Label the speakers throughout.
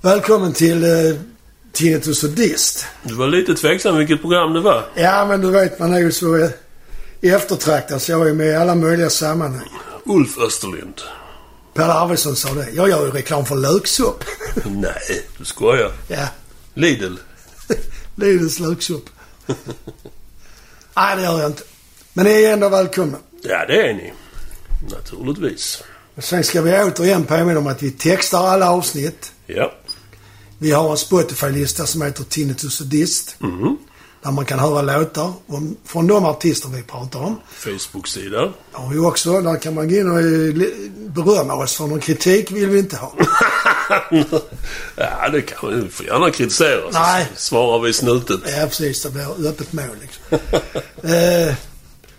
Speaker 1: Välkommen till eh, Tinnitus och Dist.
Speaker 2: Du var lite tveksam vilket program det var.
Speaker 1: Ja, men du vet, man är ju så eh, eftertraktad så jag är ju med i alla möjliga sammanhang.
Speaker 2: Ulf Österlind.
Speaker 1: Per Arvidsson sa det. Jag gör ju reklam för löksupp.
Speaker 2: Nej, du skojar.
Speaker 1: ja,
Speaker 2: Lidl.
Speaker 1: Lidls löksupp. Nej, det gör jag inte. Men ni är ändå välkomna.
Speaker 2: Ja, det är ni. Naturligtvis.
Speaker 1: Sen ska vi återigen påminna om att vi textar alla avsnitt.
Speaker 2: Ja.
Speaker 1: Vi har en Spotify-lista som heter Tinnitus och Dist. Där man kan höra låtar om, från de artister vi pratar om.
Speaker 2: Facebook-sida.
Speaker 1: har vi också. Där kan man gå in och eh, li- berömma oss för någon kritik vill vi inte ha.
Speaker 2: ja, det kan vi. Du får gärna kritisera. så
Speaker 1: Nej.
Speaker 2: Svarar vi snutet.
Speaker 1: Ja, precis. Det blir öppet mål liksom. eh,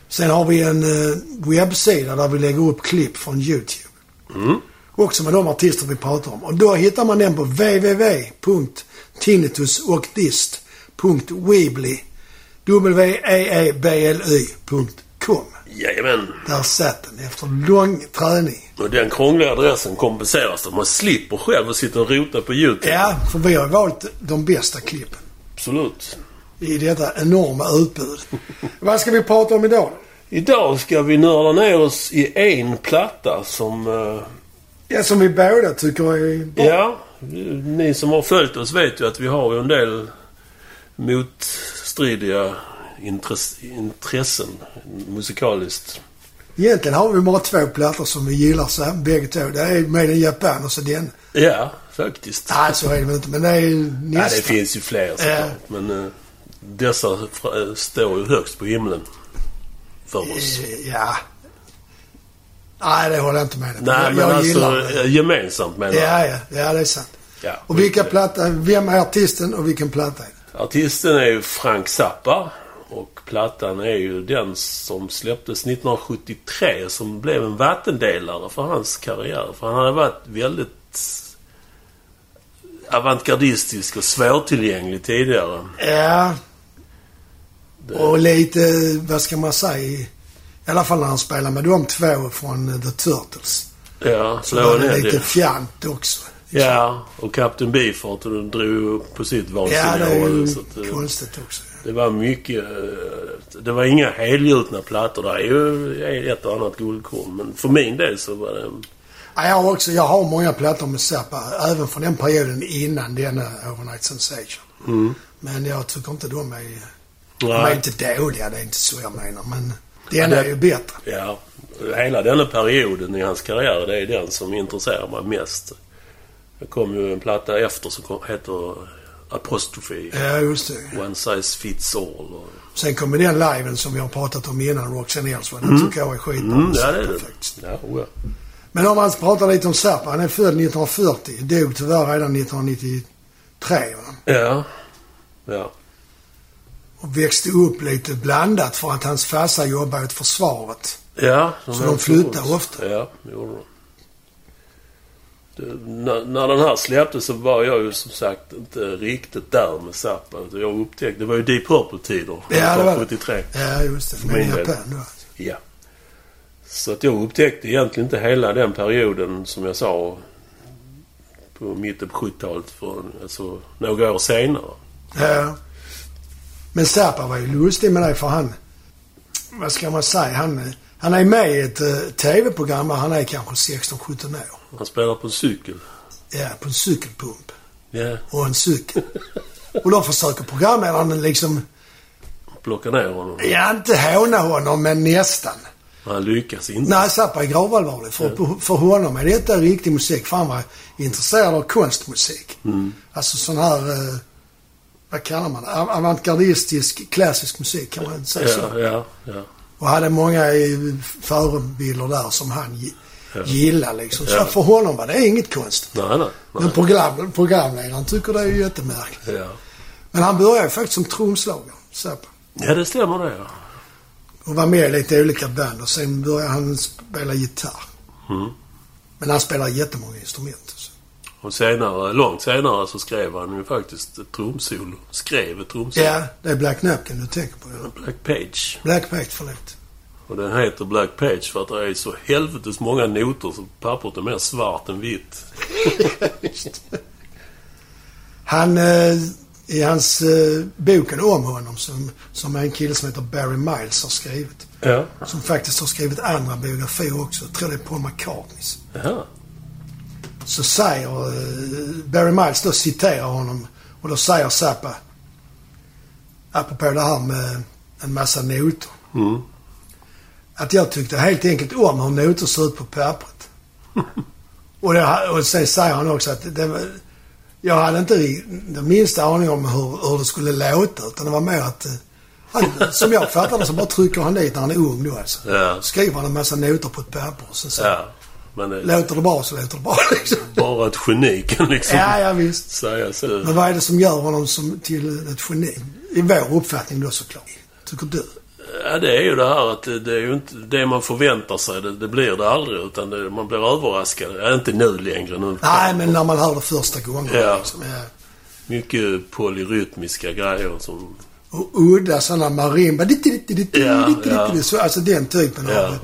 Speaker 1: sen har vi en eh, webbsida där vi lägger upp klipp från YouTube. Också med de artister vi pratar om. Och då hittar man den på www.tinnitusochdist.weebly E W-E-E-B-L-Y.com.
Speaker 2: Jajamän.
Speaker 1: Där satt den efter lång träning.
Speaker 2: Och den krångliga adressen kompenseras då. Man slipper själv att sitta och rota på YouTube.
Speaker 1: Ja, för vi har valt de bästa klippen.
Speaker 2: Absolut.
Speaker 1: i detta enorma utbud. Vad ska vi prata om idag?
Speaker 2: Idag ska vi nörda ner oss i en platta som... eh,
Speaker 1: Ja, som vi båda tycker är bra.
Speaker 2: Ja, ni som har följt oss vet ju att vi har ju en del motstridiga intress- intressen musikaliskt.
Speaker 1: Egentligen har vi bara två plattor som vi gillar så här, bägge två. Det är Made in Japan och så den.
Speaker 2: Ja, faktiskt.
Speaker 1: Nej, så är det väl inte, men det är
Speaker 2: Ja,
Speaker 1: nästan.
Speaker 2: det finns ju fler såklart.
Speaker 1: Ja.
Speaker 2: Men eh, dessa fra- står ju högst på himlen för oss.
Speaker 1: Eh, Ja. Nej, det håller jag inte med om.
Speaker 2: Nej,
Speaker 1: jag,
Speaker 2: men
Speaker 1: jag gillar
Speaker 2: alltså
Speaker 1: det.
Speaker 2: eh, gemensamt menar jag.
Speaker 1: Ja, ja, ja, det är sant.
Speaker 2: Ja.
Speaker 1: Och vilka platta, vem är artisten och vilken platta är det?
Speaker 2: Artisten är ju Frank Zappa. Och plattan är ju den som släpptes 1973 som blev en vattendelare för hans karriär. För han hade varit väldigt avantgardistisk och svårtillgänglig tidigare.
Speaker 1: Ja. Och lite, vad ska man säga, i alla fall när han spelar med de två från eh, The Turtles.
Speaker 2: Ja,
Speaker 1: Det
Speaker 2: slå
Speaker 1: var
Speaker 2: en
Speaker 1: det
Speaker 2: hel
Speaker 1: lite
Speaker 2: del.
Speaker 1: fjant också.
Speaker 2: Ja, och Captain Beefheart och den drog upp på sitt
Speaker 1: Ja, det
Speaker 2: vansinniga
Speaker 1: är
Speaker 2: håll.
Speaker 1: ju
Speaker 2: Så att, eh,
Speaker 1: konstigt också.
Speaker 2: det var mycket... eh, Det var inga helgjutna plattor. Det är ju ett och annat guldkorn. Men för min del så var det...
Speaker 1: Ja, jag, har också, jag har många plattor med Zappa, även från den perioden innan denna Overnight Sensation. Men jag tycker inte de är... De är
Speaker 2: Mm. Nej.
Speaker 1: inte dåliga, det är inte så jag menar. Men den
Speaker 2: det-
Speaker 1: är ju bättre.
Speaker 2: Ja, hela denna perioden i hans karriär, det är den som intresserar mig mest. Det kom ju en platta efter som kom, heter Apostrophe.
Speaker 1: Ja, just det.
Speaker 2: One size fits all. Och,
Speaker 1: Sen kommer den liven som vi har pratat om innan, Roxanne Elswell. Den tycker jag är skitbra.
Speaker 2: mm, ja, det är det.
Speaker 1: Faktiskt.
Speaker 2: Ja, oh ja.
Speaker 1: Men om man pratar lite om Zappa. Han är född 1940. Dog tyvärr redan 1993. va?
Speaker 2: ja. ja.
Speaker 1: och växte upp lite blandat för att hans farsa jobbade åt försvaret.
Speaker 2: Ja, de
Speaker 1: Så de flyttar ofta?
Speaker 2: Ja, det gjorde de. Det, när, när den här släpptes så var jag ju som sagt inte riktigt där med Zappa. utan Jag upptäckte, det var ju Deep Purple-tider.
Speaker 1: Ja, det var det.
Speaker 2: 73.
Speaker 1: Ja, just det. För
Speaker 2: min
Speaker 1: min
Speaker 2: del.
Speaker 1: Japan då.
Speaker 2: Ja. Så att jag upptäckte egentligen inte hela den perioden som jag sa på mitten på 70-talet. för- Alltså några år senare.
Speaker 1: Ja. Men Zappa var ju lustig med det för han... Vad ska man säga? Han, han är med i ett eh, TV-program där han är kanske 16-17 år.
Speaker 2: Han spelar på en cykel.
Speaker 1: Ja, på en cykelpump.
Speaker 2: Ja,
Speaker 1: Och en cykel. Och då försöker programledaren liksom,
Speaker 2: plockar ner honom.
Speaker 1: ja inte håna honom men nästan.
Speaker 2: Men han lyckas inte.
Speaker 1: Nej, Zappa är gravallvarlig. För, för honom är detta riktig musik. För han var intresserad av konstmusik.
Speaker 2: Mm.
Speaker 1: Alltså sån här, eh, vad kallar man det? Av- Avantgardistisk klassisk musik kan man säga så.
Speaker 2: Ja, ja, ja.
Speaker 1: Och hade många eh, förebilder där som han gi- gillade liksom. Så
Speaker 2: Ja.
Speaker 1: för honom var det inget konstigt.
Speaker 2: Nej, nej.
Speaker 1: Men
Speaker 2: nej.
Speaker 1: program, programledaren tycker det är ju jättemärkligt.
Speaker 2: Ja.
Speaker 1: Men han började ju faktiskt som trumslagare, Zappa.
Speaker 2: ja, det stämmer det. Ja.
Speaker 1: Och var med i lite olika band och sen började han spela gitarr.
Speaker 2: Mm.
Speaker 1: Men han spelar jättemånga instrument. Så.
Speaker 2: Och senare, långt senare så skrev han ju faktiskt ett trumsolo. Skrev ett trumsolo.
Speaker 1: Ja, det är Black Napkin du tänker på. ja.
Speaker 2: Black Page.
Speaker 1: Black Page, förlåt.
Speaker 2: Och den heter Black Page för att det är så helvetes många noter så pappret är mer svart än vitt.
Speaker 1: Han, eh, i hans eh, boken om honom som, som en kille som heter Barry Miles har skrivit.
Speaker 2: Ja.
Speaker 1: Som faktiskt har skrivit andra biografier också. Jag tror det är Paul McCartneys.
Speaker 2: Jaha.
Speaker 1: Så säger eh, Barry Miles då citerar honom och då säger Zappa apropå det här med en massa noter.
Speaker 2: Mm.
Speaker 1: Att jag tyckte helt enkelt om hur noter såg ut på pappret. och, det, och sen säger han också att det var, jag hade inte ri- den minsta aning om hur, hur det skulle låta utan det var mer att eh, han, som jag fattade så bara trycker han dit när han är ung då alltså.
Speaker 2: Ja.
Speaker 1: Skriver han en massa noter på ett papper och sen så
Speaker 2: ja. Men det är
Speaker 1: låter det bra så låter det bra liksom.
Speaker 2: bara ett geni kan liksom
Speaker 1: Ja, ja visst.
Speaker 2: säga så.
Speaker 1: Men vad är det som gör honom som, till ett geni? I vår uppfattning då såklart. Tycker du?
Speaker 2: Ja, det är ju det här att det, det är ju inte det man förväntar sig. Det, det blir det aldrig. Utan det, man blir överraskad. Ja, inte nu längre. Nu.
Speaker 1: Nej, men när man hör det första gången.
Speaker 2: Ja.
Speaker 1: Liksom, ja.
Speaker 2: Mycket polyrytmiska grejer som...
Speaker 1: Och udda sådana marimba. ditt, ditt, ditt, ditt,
Speaker 2: Ja,
Speaker 1: ditt, ditt,
Speaker 2: ja.
Speaker 1: ditt, Så, alltså den typen
Speaker 2: Ja.
Speaker 1: av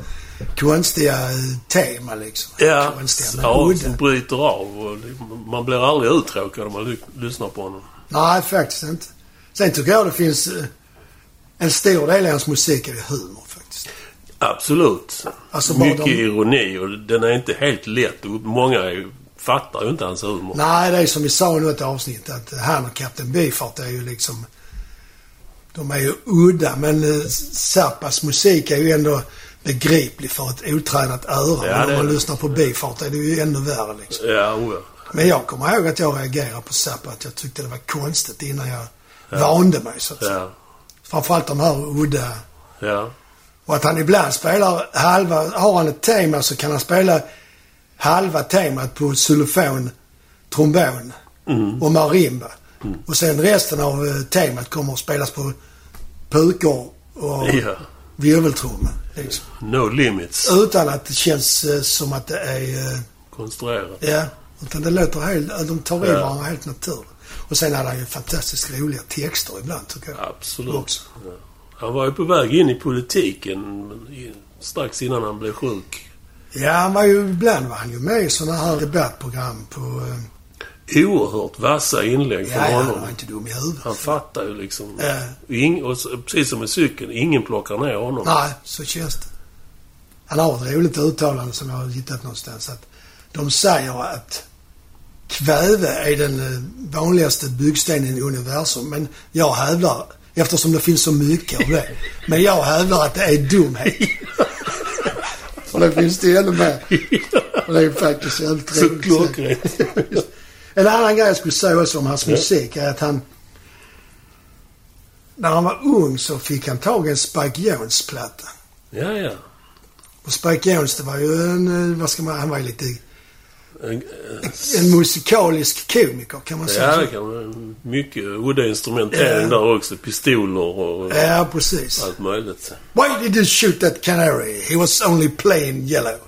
Speaker 1: konstiga eh, teman liksom.
Speaker 2: Ja,
Speaker 1: Konstiga, men
Speaker 2: ja
Speaker 1: udda.
Speaker 2: som bryter av. Och det- man blir aldrig uttråkad om man ly- lyssnar på honom.
Speaker 1: Nej, faktiskt inte. Sen tycker jag det finns... eh, En stor del av hans musik är ju humor faktiskt.
Speaker 2: Absolut.
Speaker 1: Alltså, bara
Speaker 2: Mycket
Speaker 1: de-
Speaker 2: ironi och den är inte helt lätt. Och Många är ju, fattar ju inte hans humor.
Speaker 1: Nej, det är som vi sa i något avsnitt att han och Kapten Bifart är ju liksom... De är ju udda men eh, Zappas musik är ju ändå begriplig för ett otränat öra. men
Speaker 2: Ja, det
Speaker 1: om
Speaker 2: är
Speaker 1: man
Speaker 2: det.
Speaker 1: lyssnar på Bifart är det ju ännu värre liksom.
Speaker 2: Ja, o ja.
Speaker 1: Men jag kommer ihåg att jag reagerade på Zappa, att jag tyckte det var konstigt innan jag vande mig så att säga.
Speaker 2: Ja,
Speaker 1: Framförallt de här udda...
Speaker 2: ja.
Speaker 1: Och att han ibland spelar halva... Har han ett tema så kan han spela halva temat på xylofon, trombon
Speaker 2: Mm.
Speaker 1: och marimba. Och sen resten av eh, temat kommer att spelas på pukor och
Speaker 2: ja.
Speaker 1: virveltrumma. Liksom.
Speaker 2: No limits.
Speaker 1: Utan att det känns eh, som att det är... eh,
Speaker 2: Konstruerat.
Speaker 1: Ja, utan det låter helt... De tar i
Speaker 2: Ja.
Speaker 1: varandra helt naturligt. Och sen hade han ju fantastiskt roliga texter ibland tycker jag.
Speaker 2: Absolut.
Speaker 1: Också.
Speaker 2: Ja. Han var ju på väg in i politiken men i- strax innan han blev sjuk.
Speaker 1: Ja, han var ju... Ibland var han ju med i sådana här debattprogram på... eh,
Speaker 2: Oerhört vassa inlägg från
Speaker 1: Ja, ja, han
Speaker 2: honom.
Speaker 1: var inte dum i huvudet.
Speaker 2: Han fattar ju liksom.
Speaker 1: Ja.
Speaker 2: Ing, och så, precis som med cykeln, ingen plockar ner honom.
Speaker 1: Nej, så känns det. Han har ett roligt uttalande som jag har hittat någonstans. Att de säger att kväve är den eh, vanligaste byggstenen i universum. Men jag hävdar, eftersom det finns så mycket av det, men jag hävdar att det är dumhet. Och det finns det ännu mer. Och det är faktiskt jävligt
Speaker 2: Så
Speaker 1: roligt.
Speaker 2: klockrent.
Speaker 1: En annan grej jag skulle säga också om hans musik är att han... När han var ung så fick han tag i en Spike Jones-platta.
Speaker 2: ja, ja.
Speaker 1: Och Spike Jones, det var ju en, eh, vad ska man, han var ju lite
Speaker 2: En,
Speaker 1: en musikalisk komiker kan man säga.
Speaker 2: ja,
Speaker 1: så.
Speaker 2: det kan vara mycket udda instrumentering
Speaker 1: Ja.
Speaker 2: där också. Pistoler och
Speaker 1: Ja, precis.
Speaker 2: allt möjligt.
Speaker 1: Why did you shoot that canary? He was only plain yellow.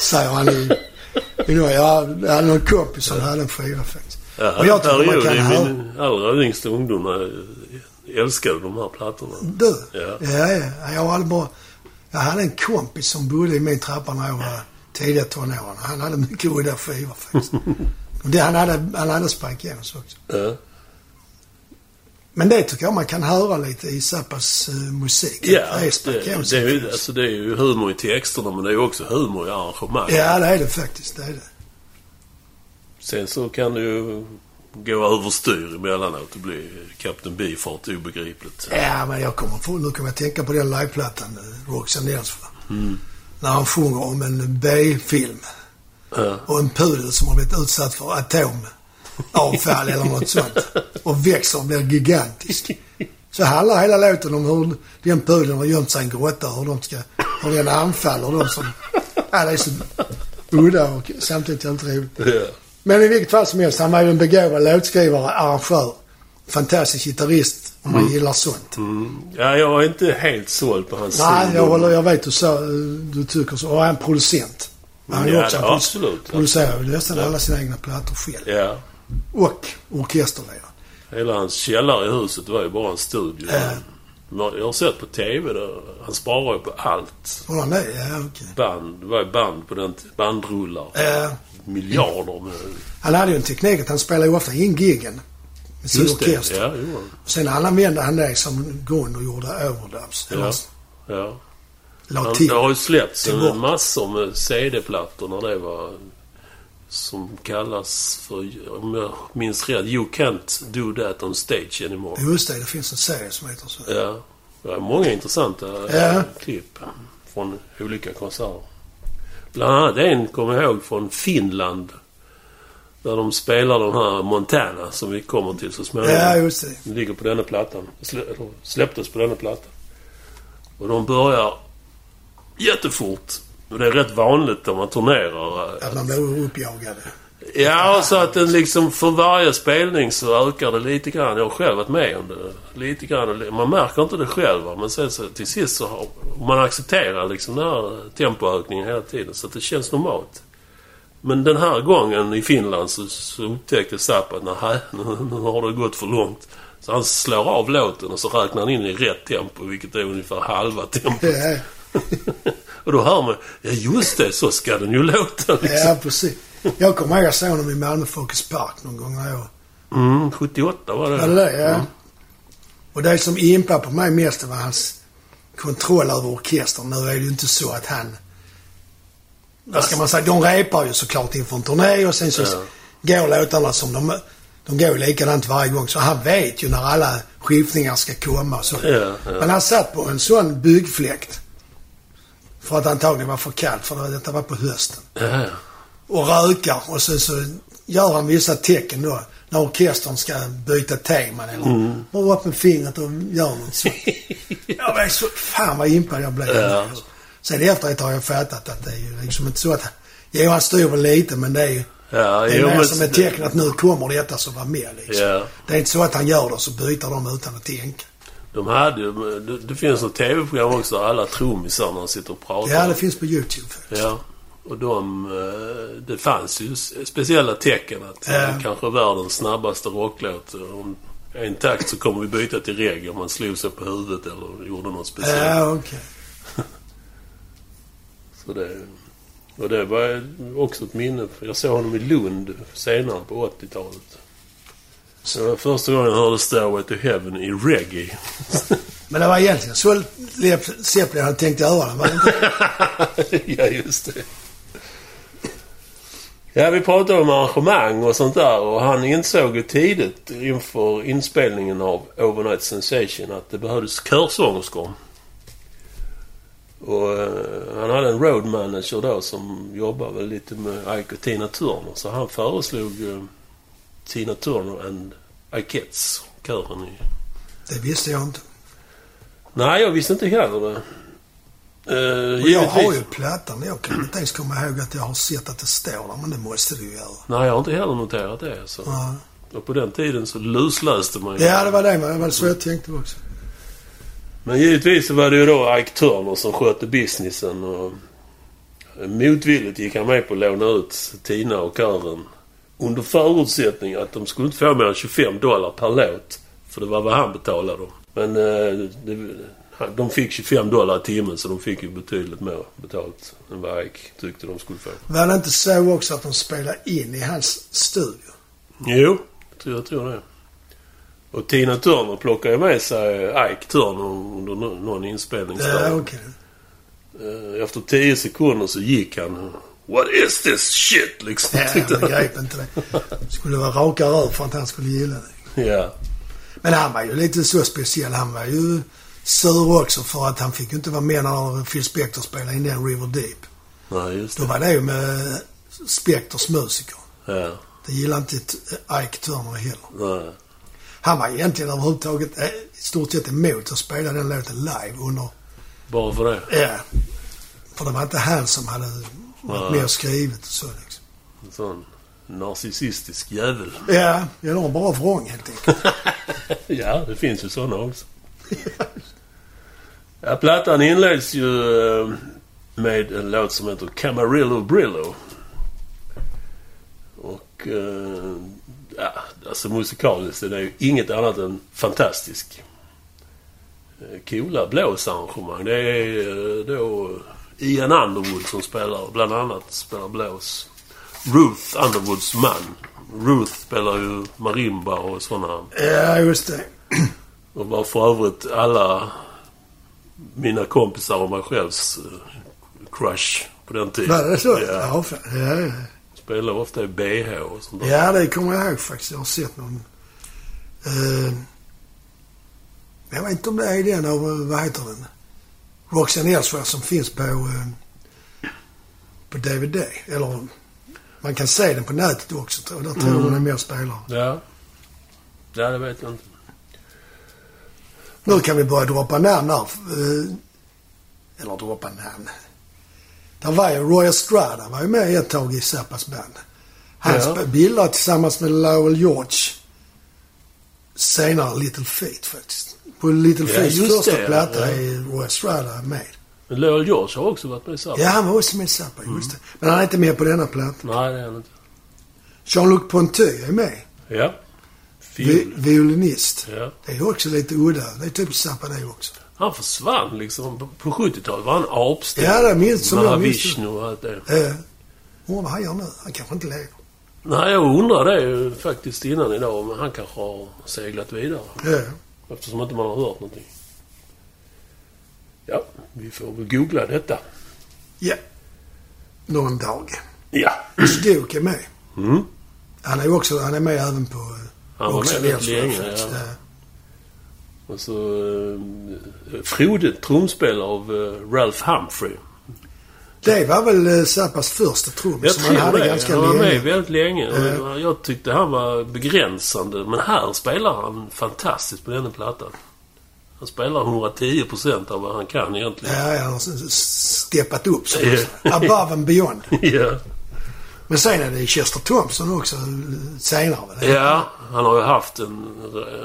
Speaker 1: Säger han i... i några- Jag hade någon kompis som hade en skiva faktiskt.
Speaker 2: Ja,
Speaker 1: Och jag tycker man
Speaker 2: period
Speaker 1: kan
Speaker 2: i
Speaker 1: höra...
Speaker 2: min allra yngsta ungdom eh, älskade de här plattorna.
Speaker 1: Du?
Speaker 2: Ja.
Speaker 1: Ja, ja. Jag hade bara... Jag hade en kompis som bodde i min trappa när jag var tidiga tonåren. Han hade mycket udda skivor faktiskt. Och det, han, hade, han hade Spike Jones också.
Speaker 2: Ja.
Speaker 1: Men det tycker jag man kan höra lite i Zappas eh, musik.
Speaker 2: Ja,
Speaker 1: det är Spike
Speaker 2: det,
Speaker 1: Jonze
Speaker 2: det, är ju,
Speaker 1: faktiskt.
Speaker 2: alltså, det är ju humor i texterna men det är ju också humor i arrangemang.
Speaker 1: Ja, det är det faktiskt. Det är det.
Speaker 2: Sen så kan det ju gå överstyr emellanåt och bli Kapten Bifart obegripligt.
Speaker 1: Ja, men jag kommer få, nu kommer jag tänka på den liveplattan, eh, Roxanne Dansford.
Speaker 2: Mm.
Speaker 1: När han sjunger om en B-film
Speaker 2: Ja.
Speaker 1: och en pudel som har blivit utsatt för atomavfall eller något sånt. Och växer och blir gigantisk. Så handlar hela låten om hur den pudeln har gömt sig i en grotta och hur, de ska, hur den anfaller de som... Ja, det är så udda och samtidigt helt roligt.
Speaker 2: Ja.
Speaker 1: Men i vilket fall som helst, han var ju en begåvad låtskrivare, arrangör. Fantastisk gitarrist om
Speaker 2: Mm.
Speaker 1: man gillar sånt.
Speaker 2: ja, jag är inte helt såld på hans
Speaker 1: Nej,
Speaker 2: solo.
Speaker 1: jag, håller, jag vet du, sa, du tycker så. Och han är en producent. Han är
Speaker 2: Ja,
Speaker 1: också en
Speaker 2: det-
Speaker 1: produ-
Speaker 2: absolut.
Speaker 1: Producerar ju nästan alla sina egna plattor själv.
Speaker 2: Ja.
Speaker 1: Och orkesterledare.
Speaker 2: Hela hans källare i huset var ju bara en studio.
Speaker 1: Ja.
Speaker 2: Men Jag har sett på TV där, han sparar ju på allt.
Speaker 1: Håller han det? Ja, okej.
Speaker 2: Band, det var ju band på den t- bandrullar.
Speaker 1: Eh,
Speaker 2: Miljarder med...
Speaker 1: han hade ju en teknik att han spelade ju ofta in giggen. med sin orkester.
Speaker 2: Ja, jo.
Speaker 1: Sen använde han det som grund och gjorde overdubs.
Speaker 2: Ja.
Speaker 1: Eller
Speaker 2: ja.
Speaker 1: la
Speaker 2: Han,
Speaker 1: till.
Speaker 2: det har ju släppts
Speaker 1: Till
Speaker 2: en
Speaker 1: bort.
Speaker 2: massor med CD-plattor när det var... Som kallas för, om jag minns rätt, You Can't Do That On Stage Anymore.
Speaker 1: Just det, det finns en serie som heter så.
Speaker 2: Ja. Det var många intressanta eh,
Speaker 1: Ja.
Speaker 2: klipp från olika konserter. Bland annat en kommer jag ihåg från Finland. Där de spelar den här Montana som vi kommer till så småningom.
Speaker 1: Ja, just det.
Speaker 2: Den ligger på denna plattan. Slä- eller Släpptes på denna plattan. Och de börjar jättefort. Och det är rätt vanligt när man turnerar. eh,
Speaker 1: Att man blev uppjagade.
Speaker 2: Ja, så att den liksom för varje spelning så ökar det lite grann. Jag har själv varit med om det. Lite grann. och li- Man märker inte det själv va, men sen så till sist så har man accepterar liksom den här tempoökningen hela tiden. Så att det känns normalt. Men den här gången i Finland så, så upptäckte Zapp att nej, nu, nu har det gått för långt. Så han slår av låten och så räknar han in i rätt tempo, vilket är ungefär halva tempot.
Speaker 1: Ja,
Speaker 2: och då hör man, ja just det, så ska den ju låta liksom.
Speaker 1: ja precis. Jag kommer ihåg jag såg honom i Malmö Folkets Park någon gång när jag
Speaker 2: Mm, 78 var det.
Speaker 1: Ja, det där, ja. Och det som impade på mig mest det var hans kontroll över orkestern. Nu är det ju inte så att han... Vad ska man säga? De repar ju såklart inför en turné och sen så går låtarna som de... De går ju likadant varje gång. Så han vet ju när alla skiftningar ska komma och så.
Speaker 2: Ja, ja.
Speaker 1: Men han satt på en sån byggfläkt. För att det antagligen var för kallt, för det var- detta var på hösten
Speaker 2: Ja,
Speaker 1: och rökar och sen så gör han vissa tecken då när orkestern ska byta teman eller
Speaker 2: Mm.
Speaker 1: bara upp med fingret och gör något så. jag var så, fan vad impad jag blev.
Speaker 2: Ja.
Speaker 1: Sen efteråt har jag fattat att det är ju liksom inte så att, jo han styr väl lite men det är ju
Speaker 2: ja,
Speaker 1: det är
Speaker 2: jo,
Speaker 1: mer
Speaker 2: men-
Speaker 1: som ett tecken att nu kommer detta som var med liksom.
Speaker 2: Ja.
Speaker 1: Det är inte så att han gör det och så byter de utan att tänka.
Speaker 2: De hade ju... Det, det finns något tv-program också där alla trummisarna sitter och pratar.
Speaker 1: Ja, det finns på YouTube.
Speaker 2: Ja. Och de... eh, Det fanns ju s- speciella tecken att
Speaker 1: Ja.
Speaker 2: eh, kanske världens snabbaste rocklåt. eh, Om en takt så kommer vi byta till reggae om man slog sig på huvudet eller gjorde något speciellt.
Speaker 1: Ja, okej.
Speaker 2: Så det, och det var också ett minne. för Jag såg honom i Lund senare på 80-talet. Så det var första gången jag hörde Stairway to Heaven i reggae.
Speaker 1: Men det var egentligen så Led Zeppelin hade tänkt göra det. var det inte?
Speaker 2: ja, just det. Ja, vi pratade om arrangemang och sånt där och han insåg ju tidigt inför inspelningen av Overnight Sensation att det behövdes körsångerskor. Och eh, han hade en road manager då som jobbade väl lite med Ike och Tina Turner så han föreslog eh, Tina Turner and Ikeettes, kören i
Speaker 1: Det visste jag inte.
Speaker 2: Nej, jag visste inte heller det.
Speaker 1: Och
Speaker 2: Eh,
Speaker 1: jag
Speaker 2: givetvis-
Speaker 1: har ju plattan. Jag kan inte ens komma ihåg att jag har sett att det står där, men det måste det ju göra.
Speaker 2: Nej, jag har inte heller noterat det. Så.
Speaker 1: Ja,
Speaker 2: Och på den tiden så lusläste man ju.
Speaker 1: ja det var det. men Det var så jag tänkte också.
Speaker 2: Men givetvis så var det ju då Ike Turner som skötte businessen. Och motvilligt gick han med på att låna ut Tina och kören. Under förutsättning att de skulle inte få mer än 25 dollar per låt. För det var vad han betalade dem. Men eh, det, han- de fick 25 dollar i timmen så de fick ju betydligt mer betalt än vad Ike tyckte de skulle få.
Speaker 1: Var det inte så också att de spelade in i hans studio?
Speaker 2: Jo, tror- jag tror det. Och Tina Turner plockade ju med sig Ike Turner under nå- någon inspelningsdag.
Speaker 1: Ja, okej.
Speaker 2: Eh, Efter tio sekunder så gick han. What is this shit? Liksom.
Speaker 1: Ja, jag begrep inte det. Skulle vara raka rör för att han skulle gilla det.
Speaker 2: ja.
Speaker 1: Men han var ju lite så speciell. Han var ju sur också för att han fick ju inte vara med när Phil Spector spelade in den River Deep.
Speaker 2: Nej, just
Speaker 1: Då
Speaker 2: det.
Speaker 1: var det ju med Spectors musiker.
Speaker 2: Ja.
Speaker 1: Det gillade inte Ike Turner heller.
Speaker 2: Nej.
Speaker 1: Han var egentligen överhuvudtaget eh, i stort sett emot att spela den låten live under...
Speaker 2: Bara för det.
Speaker 1: Ja. För det var inte han som hade varit
Speaker 2: Nej.
Speaker 1: med och skrivit och så liksom.
Speaker 2: En sån narcissistisk jävel.
Speaker 1: Ja, jag har bra vrång helt enkelt.
Speaker 2: ja, det finns ju såna också. Ja, plattan inleds ju eh, med en låt som heter Camarillo Brillo. Och... eh, Ja, alltså musikaliskt är det ju inget annat än fantastisk. Eh, Coola blåsarrangemang. Det är eh, då Ian Underwood som spelar, bland annat spelar blås. Ruth Underwoods man Ruth spelar ju marimba och sådana.
Speaker 1: Ja, just det.
Speaker 2: Och var för övrigt alla mina kompisar och mig självs eh, crush på den tiden.
Speaker 1: Var det så?
Speaker 2: Ja.
Speaker 1: Ja, fan. ja, ja.
Speaker 2: Spelade ofta i BH och sånt där.
Speaker 1: ja, det kommer jag ihåg faktiskt. Jag har sett någon... Eh, jag vet inte om det är den av, eh, vad heter den? Roxanne Elsworth som finns på, eh, på DVD. Eller man kan se den på nätet också tror jag. Där tror jag hon är med och spelar.
Speaker 2: Ja. Ja, det vet jag inte.
Speaker 1: Nu kan vi börja droppa namn här. Eh, Eller droppa namn. Där var ju Roy Estrada var ju med ett tag i Zappas band. Han
Speaker 2: Ja.
Speaker 1: ja. bildade tillsammans med Lowell George senare Little Feet faktiskt. På Little
Speaker 2: Ja,
Speaker 1: Feets
Speaker 2: just
Speaker 1: första
Speaker 2: det,
Speaker 1: platta
Speaker 2: ja.
Speaker 1: är Roy Estrada med.
Speaker 2: Men Lowell George har också varit med i Zappa.
Speaker 1: Ja, han var också med i Zappa, just det. Men han är inte med på denna platta.
Speaker 2: Nej, det är han inte.
Speaker 1: Jean-Luc Ponty är med.
Speaker 2: Ja.
Speaker 1: Vi,
Speaker 2: Fiol.
Speaker 1: violinist.
Speaker 2: Ja.
Speaker 1: Det är också lite udda. Det är typ Zappa det också.
Speaker 2: Han försvann liksom. På- På 70-talet var han apsten.
Speaker 1: Ja, det minns som jag minns det.
Speaker 2: Mahavishnu och allt det.
Speaker 1: Eh, undrar vad han gör nu. Han kanske inte lever.
Speaker 2: Nej, jag undrar det ju faktiskt innan idag. Men han kanske har seglat vidare.
Speaker 1: Ja.
Speaker 2: Eftersom inte man har hört någonting. Ja, vi får väl googla detta.
Speaker 1: Ja. Någon dag.
Speaker 2: Ja.
Speaker 1: Stoke är med.
Speaker 2: Mm.
Speaker 1: Han är ju också, han är med även på... eh,
Speaker 2: Han var
Speaker 1: också
Speaker 2: med rätt
Speaker 1: Nelson,
Speaker 2: länge.
Speaker 1: faktiskt.
Speaker 2: Ja.
Speaker 1: Eh,
Speaker 2: Och så eh, Frode, trumspelare av eh, Ralph Humphrey.
Speaker 1: Det var väl eh, Zappas första trummis
Speaker 2: Jag
Speaker 1: som han
Speaker 2: tror
Speaker 1: hade
Speaker 2: det.
Speaker 1: ganska
Speaker 2: han var med
Speaker 1: länge. Eh.
Speaker 2: väldigt länge.
Speaker 1: Ja.
Speaker 2: Och Jag tyckte han var begränsande. Men här spelar han fantastiskt på denna plattan. Han spelar 110% av vad han kan egentligen.
Speaker 1: Ja, ja, han har s- s- steppat upp så
Speaker 2: Ja.
Speaker 1: Above and beyond.
Speaker 2: Ja.
Speaker 1: Men sen är det Chester Thompson också eh, senare. Väl?
Speaker 2: ja, han har ju haft en,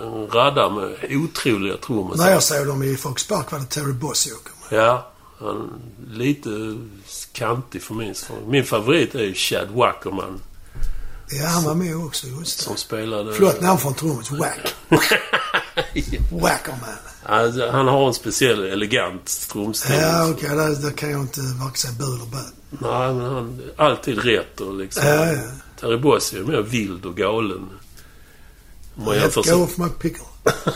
Speaker 2: en radda med otroliga
Speaker 1: När
Speaker 2: trummisar.
Speaker 1: jag såg dem i Fox Park var det Terry Bossio.
Speaker 2: Ja, han lite kantig för min smak. Min favorit är ju Chad Wackerman
Speaker 1: Ja, han var med också, just det.
Speaker 2: som spelade...
Speaker 1: Förlåt namn från trummis. Wack. Wackerman.
Speaker 2: Alltså, han har en speciell elegant trumstil.
Speaker 1: Ja, okej. Där, där kan jag inte varken säga bu eller bä.
Speaker 2: Nej, men han alltid rätt och liksom...
Speaker 1: Ja, ja.
Speaker 2: Terry Boss är ju mer vild och galen. Om man jämför
Speaker 1: Let go
Speaker 2: sig...
Speaker 1: of my pickle.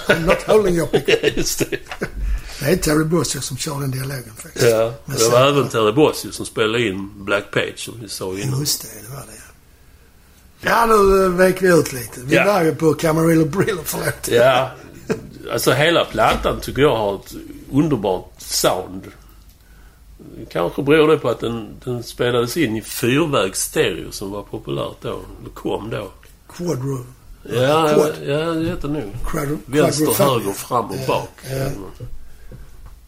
Speaker 1: I'm not holding your pickle.
Speaker 2: Just det.
Speaker 1: Det är Terry Bossio som kör den dialogen faktiskt.
Speaker 2: Ja.
Speaker 1: Men
Speaker 2: Det
Speaker 1: sen-
Speaker 2: var även Terry Boss ju som spelade in Black Page, som vi sa innan.
Speaker 1: Just det, det var det. Ja, nu eh, vek vi ut lite. Vi
Speaker 2: Ja.
Speaker 1: var ju på Camarillo Brillo, förlåt.
Speaker 2: Ja. Alltså hela plattan tycker jag har ett underbart sound. Kanske beror det på att den, den spelades in i fyrvägs stereo som var populärt då. Det kom då.
Speaker 1: Quadro...
Speaker 2: Ja, ja,
Speaker 1: Quad.
Speaker 2: ja det heter nog.
Speaker 1: quadro
Speaker 2: Vänster,
Speaker 1: quadrophonic.
Speaker 2: höger, fram och
Speaker 1: Ja,
Speaker 2: bak.
Speaker 1: ja.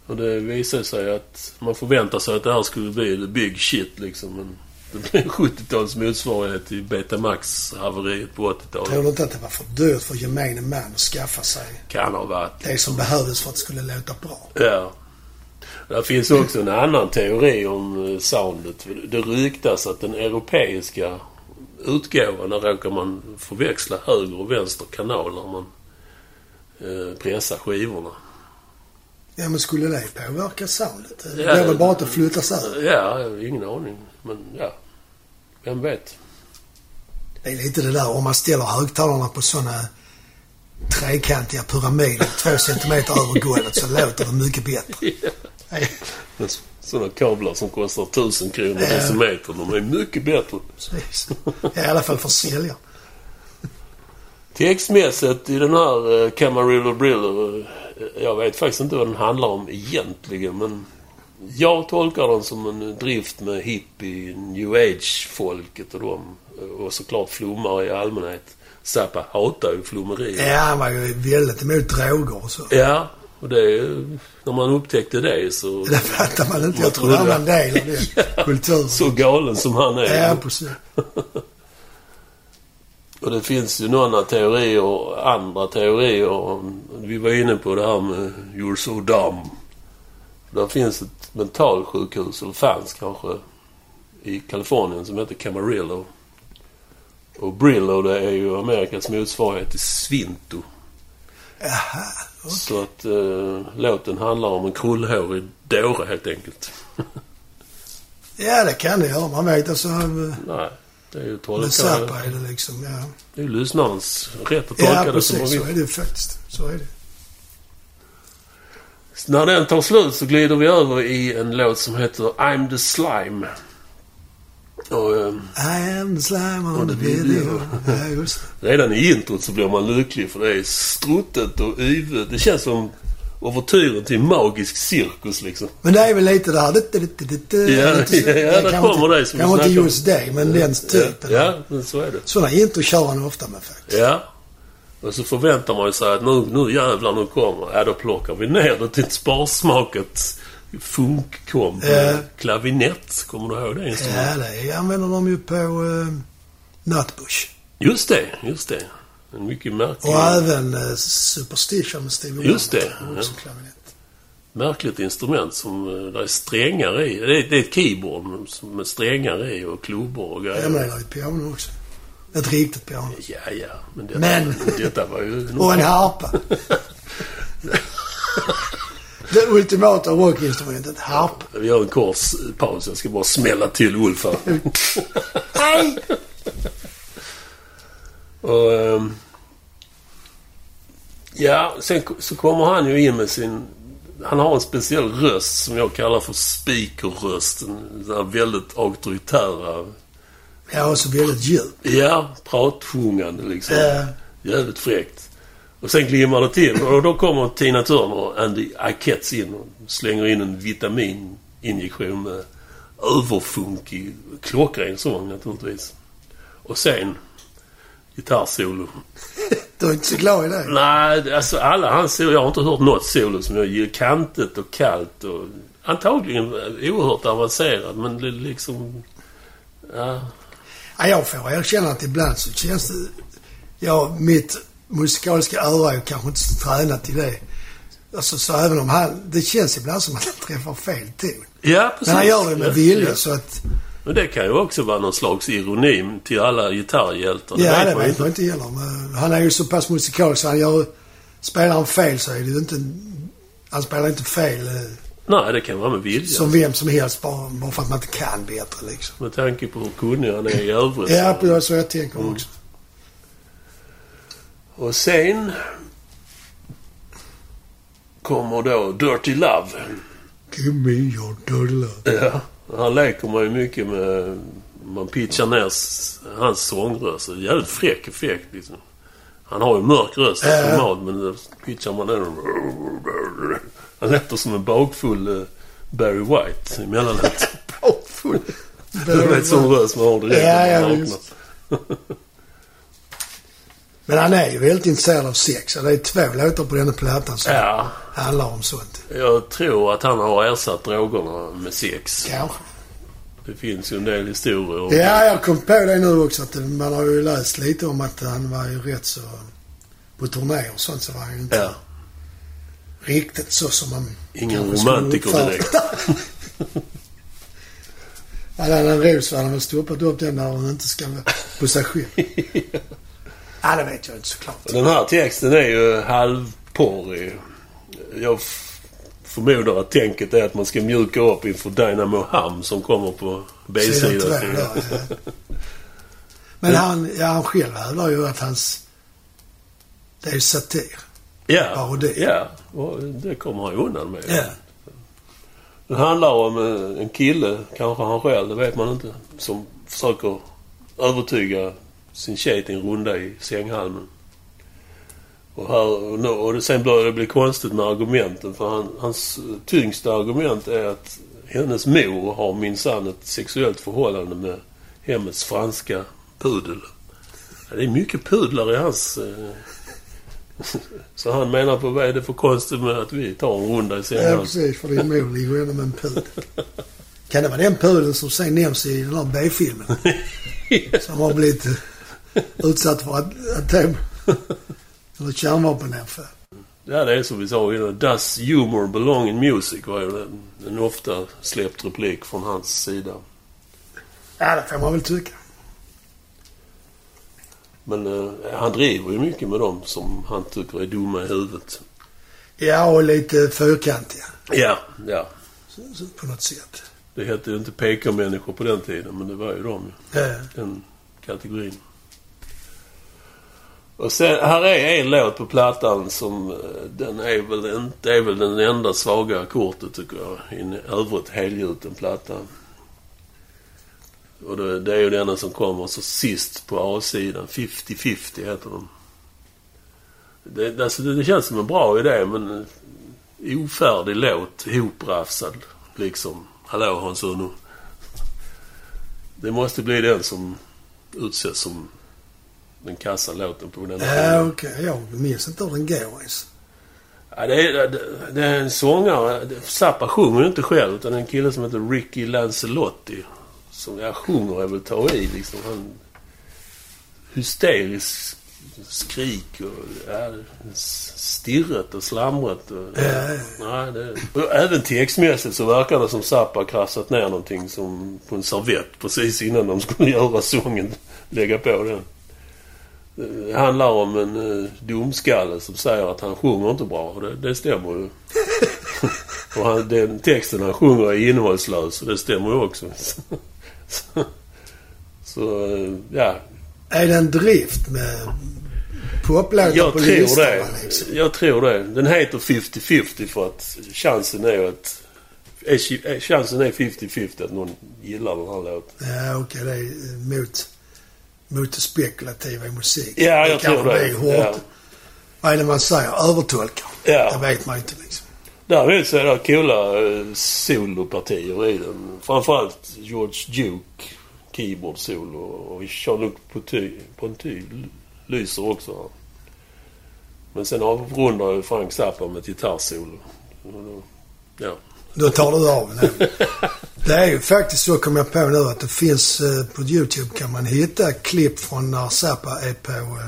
Speaker 2: Och det visade sig att man förväntade sig att det här skulle bli the big shit liksom. Men det blev 70-tals motsvarighet till Betamax-haveriet på 80-talet.
Speaker 1: Tror du inte att det var för dyrt för gemene man att skaffa sig
Speaker 2: Kan ha varit.
Speaker 1: det som behövdes för att det skulle låta bra?
Speaker 2: Ja. Där finns också en annan teori om eh, soundet. Det ryktas att den europeiska utgåvan, där råkar man förväxla höger och vänster kanal när man eh, pressar skivorna.
Speaker 1: Ja, men skulle det påverka soundet? Det
Speaker 2: Ja,
Speaker 1: blev väl
Speaker 2: det-
Speaker 1: bara att det flyttas över?
Speaker 2: Ja, jag har ingen aning. Men ja, vem vet?
Speaker 1: Det är lite det där om man ställer högtalarna på sådana trekantiga pyramider två centimeter över golvet så låter det mycket bättre.
Speaker 2: Men så- Sådana kablar som kostar 1000 kronor
Speaker 1: Ja.
Speaker 2: decimetern, de är mycket bättre.
Speaker 1: Precis. I alla fall för säljaren.
Speaker 2: Textmässigt i den här eh, Camarillo Briller, eh, jag vet faktiskt inte vad den handlar om egentligen, men jag tolkar den som en drift med hippie, new age-folket och dem. eh, Och såklart flummare i allmänhet. Zappa hatar ju flummerier.
Speaker 1: Ja, han var ju väldigt emot droger och så.
Speaker 2: Ja, och det... är ju- När man upptäckte det så...
Speaker 1: Det fattar man inte. Jag
Speaker 2: Man
Speaker 1: tror det var
Speaker 2: trodde-
Speaker 1: en del av den kulturen.
Speaker 2: Så galen som han är.
Speaker 1: Ja, precis.
Speaker 2: Och det finns ju några teorier och andra teorier. Vi var inne på det här med You're so dumb. Där finns ett mentalsjukhus, eller fanns kanske, i Kalifornien som heter Camarillo. Och Brillo det är ju Amerikas motsvarighet till Svinto.
Speaker 1: Jaha.
Speaker 2: Så att eh, låten handlar om en krullhårig dåre helt enkelt.
Speaker 1: Ja, det kan det göra. Man vet alltså. eh,
Speaker 2: Nej. Det är ju
Speaker 1: Men
Speaker 2: tolka,
Speaker 1: Zappa är det liksom, ja.
Speaker 2: det är ju lyssnarens rätt att tolka
Speaker 1: Ja,
Speaker 2: det som man
Speaker 1: precis.
Speaker 2: vill.
Speaker 1: Så är det ju faktiskt. Så är det.
Speaker 2: När den tar slut så glider vi över i en låt som heter I'm the slime. Och, eh,
Speaker 1: I am the slime on the
Speaker 2: the video.
Speaker 1: video. Ja, just det.
Speaker 2: redan i introt så blir man lycklig för det är struttet och yvet. Det känns som ouvertyren till en magisk cirkus liksom.
Speaker 1: Men det är väl lite där... Det, det, det, det, det,
Speaker 2: Ja,
Speaker 1: lite så-
Speaker 2: ja, ja, där
Speaker 1: kanske
Speaker 2: kommer
Speaker 1: inte-
Speaker 2: det som vi
Speaker 1: Kanske inte
Speaker 2: snackade om.
Speaker 1: just det, men den typen.
Speaker 2: Ja, men så är det.
Speaker 1: Sådana intro kör han ofta med faktiskt.
Speaker 2: Ja. Och så förväntar man ju sig att nu, nu jävlar, nu kommer... Ja, då plockar vi ner det till ett sparsmakat funkkomp.
Speaker 1: Ja.
Speaker 2: Klavinett, kommer du ihåg det instrumentet?
Speaker 1: Ja, det använder de ju på uh, Nutbush.
Speaker 2: Just det, just det. En mycket märklig,
Speaker 1: Och även eh, Superstition med Stevie
Speaker 2: Just
Speaker 1: Wonder.
Speaker 2: det,
Speaker 1: Han har också klarinett.
Speaker 2: märkligt instrument som eh, det är strängar i. Det är, det är ett keyboard som- med strängar i och klubbor och
Speaker 1: Ja, men det
Speaker 2: grejer.
Speaker 1: är ju ett piano också. Ett riktigt piano.
Speaker 2: Ja, ja. Men detta,
Speaker 1: Men-
Speaker 2: detta var ju...
Speaker 1: Och en harpa. det ultimata rockinstrumentet, harpa.
Speaker 2: Vi gör en kort s- paus. Jag ska bara smälla till Ulf här.
Speaker 1: Nej!
Speaker 2: Och, ehm, ja, sen k- så kommer han ju in med sin... Han har en speciell röst som jag kallar för speakerrösten. Den här väldigt auktoritära.
Speaker 1: Ja, och så väldigt djup.
Speaker 2: Ja, pratsjungande liksom.
Speaker 1: Eh,
Speaker 2: Jävligt fräckt. Och sen glimmar det till och då kommer Tina Turner och Andy Akets in och slänger in en vitamininjektion med överfunkig, klockren sång naturligtvis. Och sen gitarrsolo.
Speaker 1: du är inte så glad i det.
Speaker 2: Nej, alltså alla hans solo. Jag har inte hört något solo som jag gillar. Kantigt och kallt och antagligen oerhört avancerat men det är liksom... Ja,
Speaker 1: Ja, jag får erkänna att ibland så känns det... Ja, mitt musikaliska öra är kanske inte så tränat till det. Alltså, så även om han... Det känns ibland som att han träffar fel ton.
Speaker 2: ja precis.
Speaker 1: Men han gör det
Speaker 2: Ja,
Speaker 1: med vilja,
Speaker 2: ja.
Speaker 1: så att...
Speaker 2: Men det kan ju också vara någon slags ironi till alla gitarrhjältar.
Speaker 1: Ja, det
Speaker 2: man ju
Speaker 1: vet man inte heller. Men han är ju så pass musikalisk så han gör... Spelar han fel så är det ju inte... Han spelar inte fel eh,
Speaker 2: Nej, det kan vara med vilja.
Speaker 1: som vem som helst bara, bara för att man inte kan bättre liksom.
Speaker 2: Med tanke på hur kunnig han är i övrigt.
Speaker 1: Ja, det är så jag tänker också.
Speaker 2: Och sen kommer då Dirty Love.
Speaker 1: Mm. Give me your dirty love.
Speaker 2: Ja. Här leker man ju mycket med... Man pitchar ner s- hans sångröst. Det är Jävligt fräck effekt liksom. Han har ju mörk röst
Speaker 1: Ja.
Speaker 2: äh. normalt, men då pitchar man ner Han låter som en bakfull eh, Barry White emellanåt.
Speaker 1: Bakfull.
Speaker 2: Du vet sån röst man har direkt.
Speaker 1: Ja, ja,
Speaker 2: när man
Speaker 1: visst.
Speaker 2: vaknar.
Speaker 1: Men han är ju väldigt intresserad av sex. och Det är två låtar på denna plattan som
Speaker 2: Ja,
Speaker 1: handlar om sånt.
Speaker 2: jag tror att han har ersatt drogerna med sex.
Speaker 1: Kanske.
Speaker 2: Det finns ju en del historier om...
Speaker 1: Ja, jag kom på det nu också att man har ju läst lite om att han var ju rätt så... På turnéer och sånt så var han ju inte...
Speaker 2: Ja,
Speaker 1: riktigt så som man...
Speaker 2: Ingen
Speaker 1: kanske skulle
Speaker 2: romantiker
Speaker 1: uppfatta.
Speaker 2: direkt.
Speaker 1: Hade han en ros så hade han väl stoppat upp den där hon inte ska vara på sig själv. ja, det vet jag inte såklart.
Speaker 2: Den här texten är ju halvporrig. Jag f- förmodar att tänket är att man ska mjuka upp inför Dynamo Ham som kommer på
Speaker 1: Så är det
Speaker 2: B-sidan.
Speaker 1: tyvärr idag, ja. Men han, ja, han själv hävdar ju att hans... Det är ju satir.
Speaker 2: Ja,
Speaker 1: Parodi.
Speaker 2: ja. Och det kommer han ju undan med.
Speaker 1: Ja.
Speaker 2: Det handlar om eh, en kille, kanske han själv, det vet man inte, som försöker övertyga sin tjej till en runda i sänghalmen. Och, här, och, nu- och det- sen börjar det bli konstigt med argumenten för han, hans tyngsta argument är att hennes mor har minsann ett sexuellt förhållande med hemmets franska pudel. Ja, det är mycket pudlar i hans... Eh, så han menar på vad är det för konstigt med att vi tar en runda i
Speaker 1: Ja,
Speaker 2: sänghalmen?
Speaker 1: precis. För din mor ligger ändå med en pudel. Kan det vara den pudeln som sen nämns i den här B-filmen? Som har blivit eh, utsatt för att, att det... Eller kärnvapenanfall.
Speaker 2: Ja, det är som vi sa innan. Does humor belong in music? var ju en, en ofta släppt replik från hans sida.
Speaker 1: Ja, det får man väl tycka.
Speaker 2: Men eh, han driver ju mycket med dem som han tycker är dumma i huvudet.
Speaker 1: Ja, och lite fyrkantiga
Speaker 2: Ja, ja.
Speaker 1: på något sätt.
Speaker 2: Det hette ju inte PK-människor på den tiden, men det var ju de.
Speaker 1: Eh,
Speaker 2: Den kategorin. Och sen, här är en låt på plattan som eh, den är väl, inte, det är väl den enda svaga kortet tycker jag. I en övrigt helgjuten platta. Och det, det är ju denna som kommer så sist på A-sidan. 50-50 heter den. Det, alltså, det, det känns som en bra idé men eh, ofärdig låt, hoprafsad liksom. Hallå Hans Uno. Det måste bli den som utses som den kassa låten på den
Speaker 1: Ja, okej. Jag minns inte hur den går ens.
Speaker 2: Ja, det, är, det, det är en sångare. det- Zappa sjunger ju inte själv utan en kille som heter Ricky Lancelotti. Som jag sjunger är väl ta i liksom. Han hysterisk skrik och ja, stirret och slamret. Och,
Speaker 1: Ja, ja.
Speaker 2: Nej, det, och även textmässigt så verkar det som Zappa krassat ner någonting som på en servett precis innan de skulle göra sången. Lägga på den. Det handlar om en eh, domskalle som säger att han sjunger inte bra. Och det, det stämmer ju. och han, den texten han sjunger är innehållslös och det stämmer ju också. så, så, eh, ja.
Speaker 1: Är det en drift med poplåtar
Speaker 2: Jag
Speaker 1: på
Speaker 2: tror
Speaker 1: listorna?
Speaker 2: det.
Speaker 1: Liksom?
Speaker 2: Jag tror det. Den heter 50-50 för att chansen är att... Är, chi- är- chansen är 50-50 att någon gillar den här låten.
Speaker 1: Ja, okej. Det är eh, mot, mot det spekulativa i musik.
Speaker 2: Ja, jag tror
Speaker 1: kanske
Speaker 2: det.
Speaker 1: blir hårt.
Speaker 2: Ja.
Speaker 1: Vad är det man säger? Övertolkar.
Speaker 2: Ja.
Speaker 1: Det vet man inte liksom.
Speaker 2: Däremot så är det coola eh, solopartier i den. Framförallt George Duke keyboard solo och Jean-Luc Ponty- Ponty lyser också. här. Men sen avrundar ju Frank Zappa med ett gitarrsolo. Och då- Ja.
Speaker 1: Då tar du av den. Det är ju faktiskt så, kom jag på nu, att det finns eh, på YouTube kan man hitta klipp från när Zappa är på eh,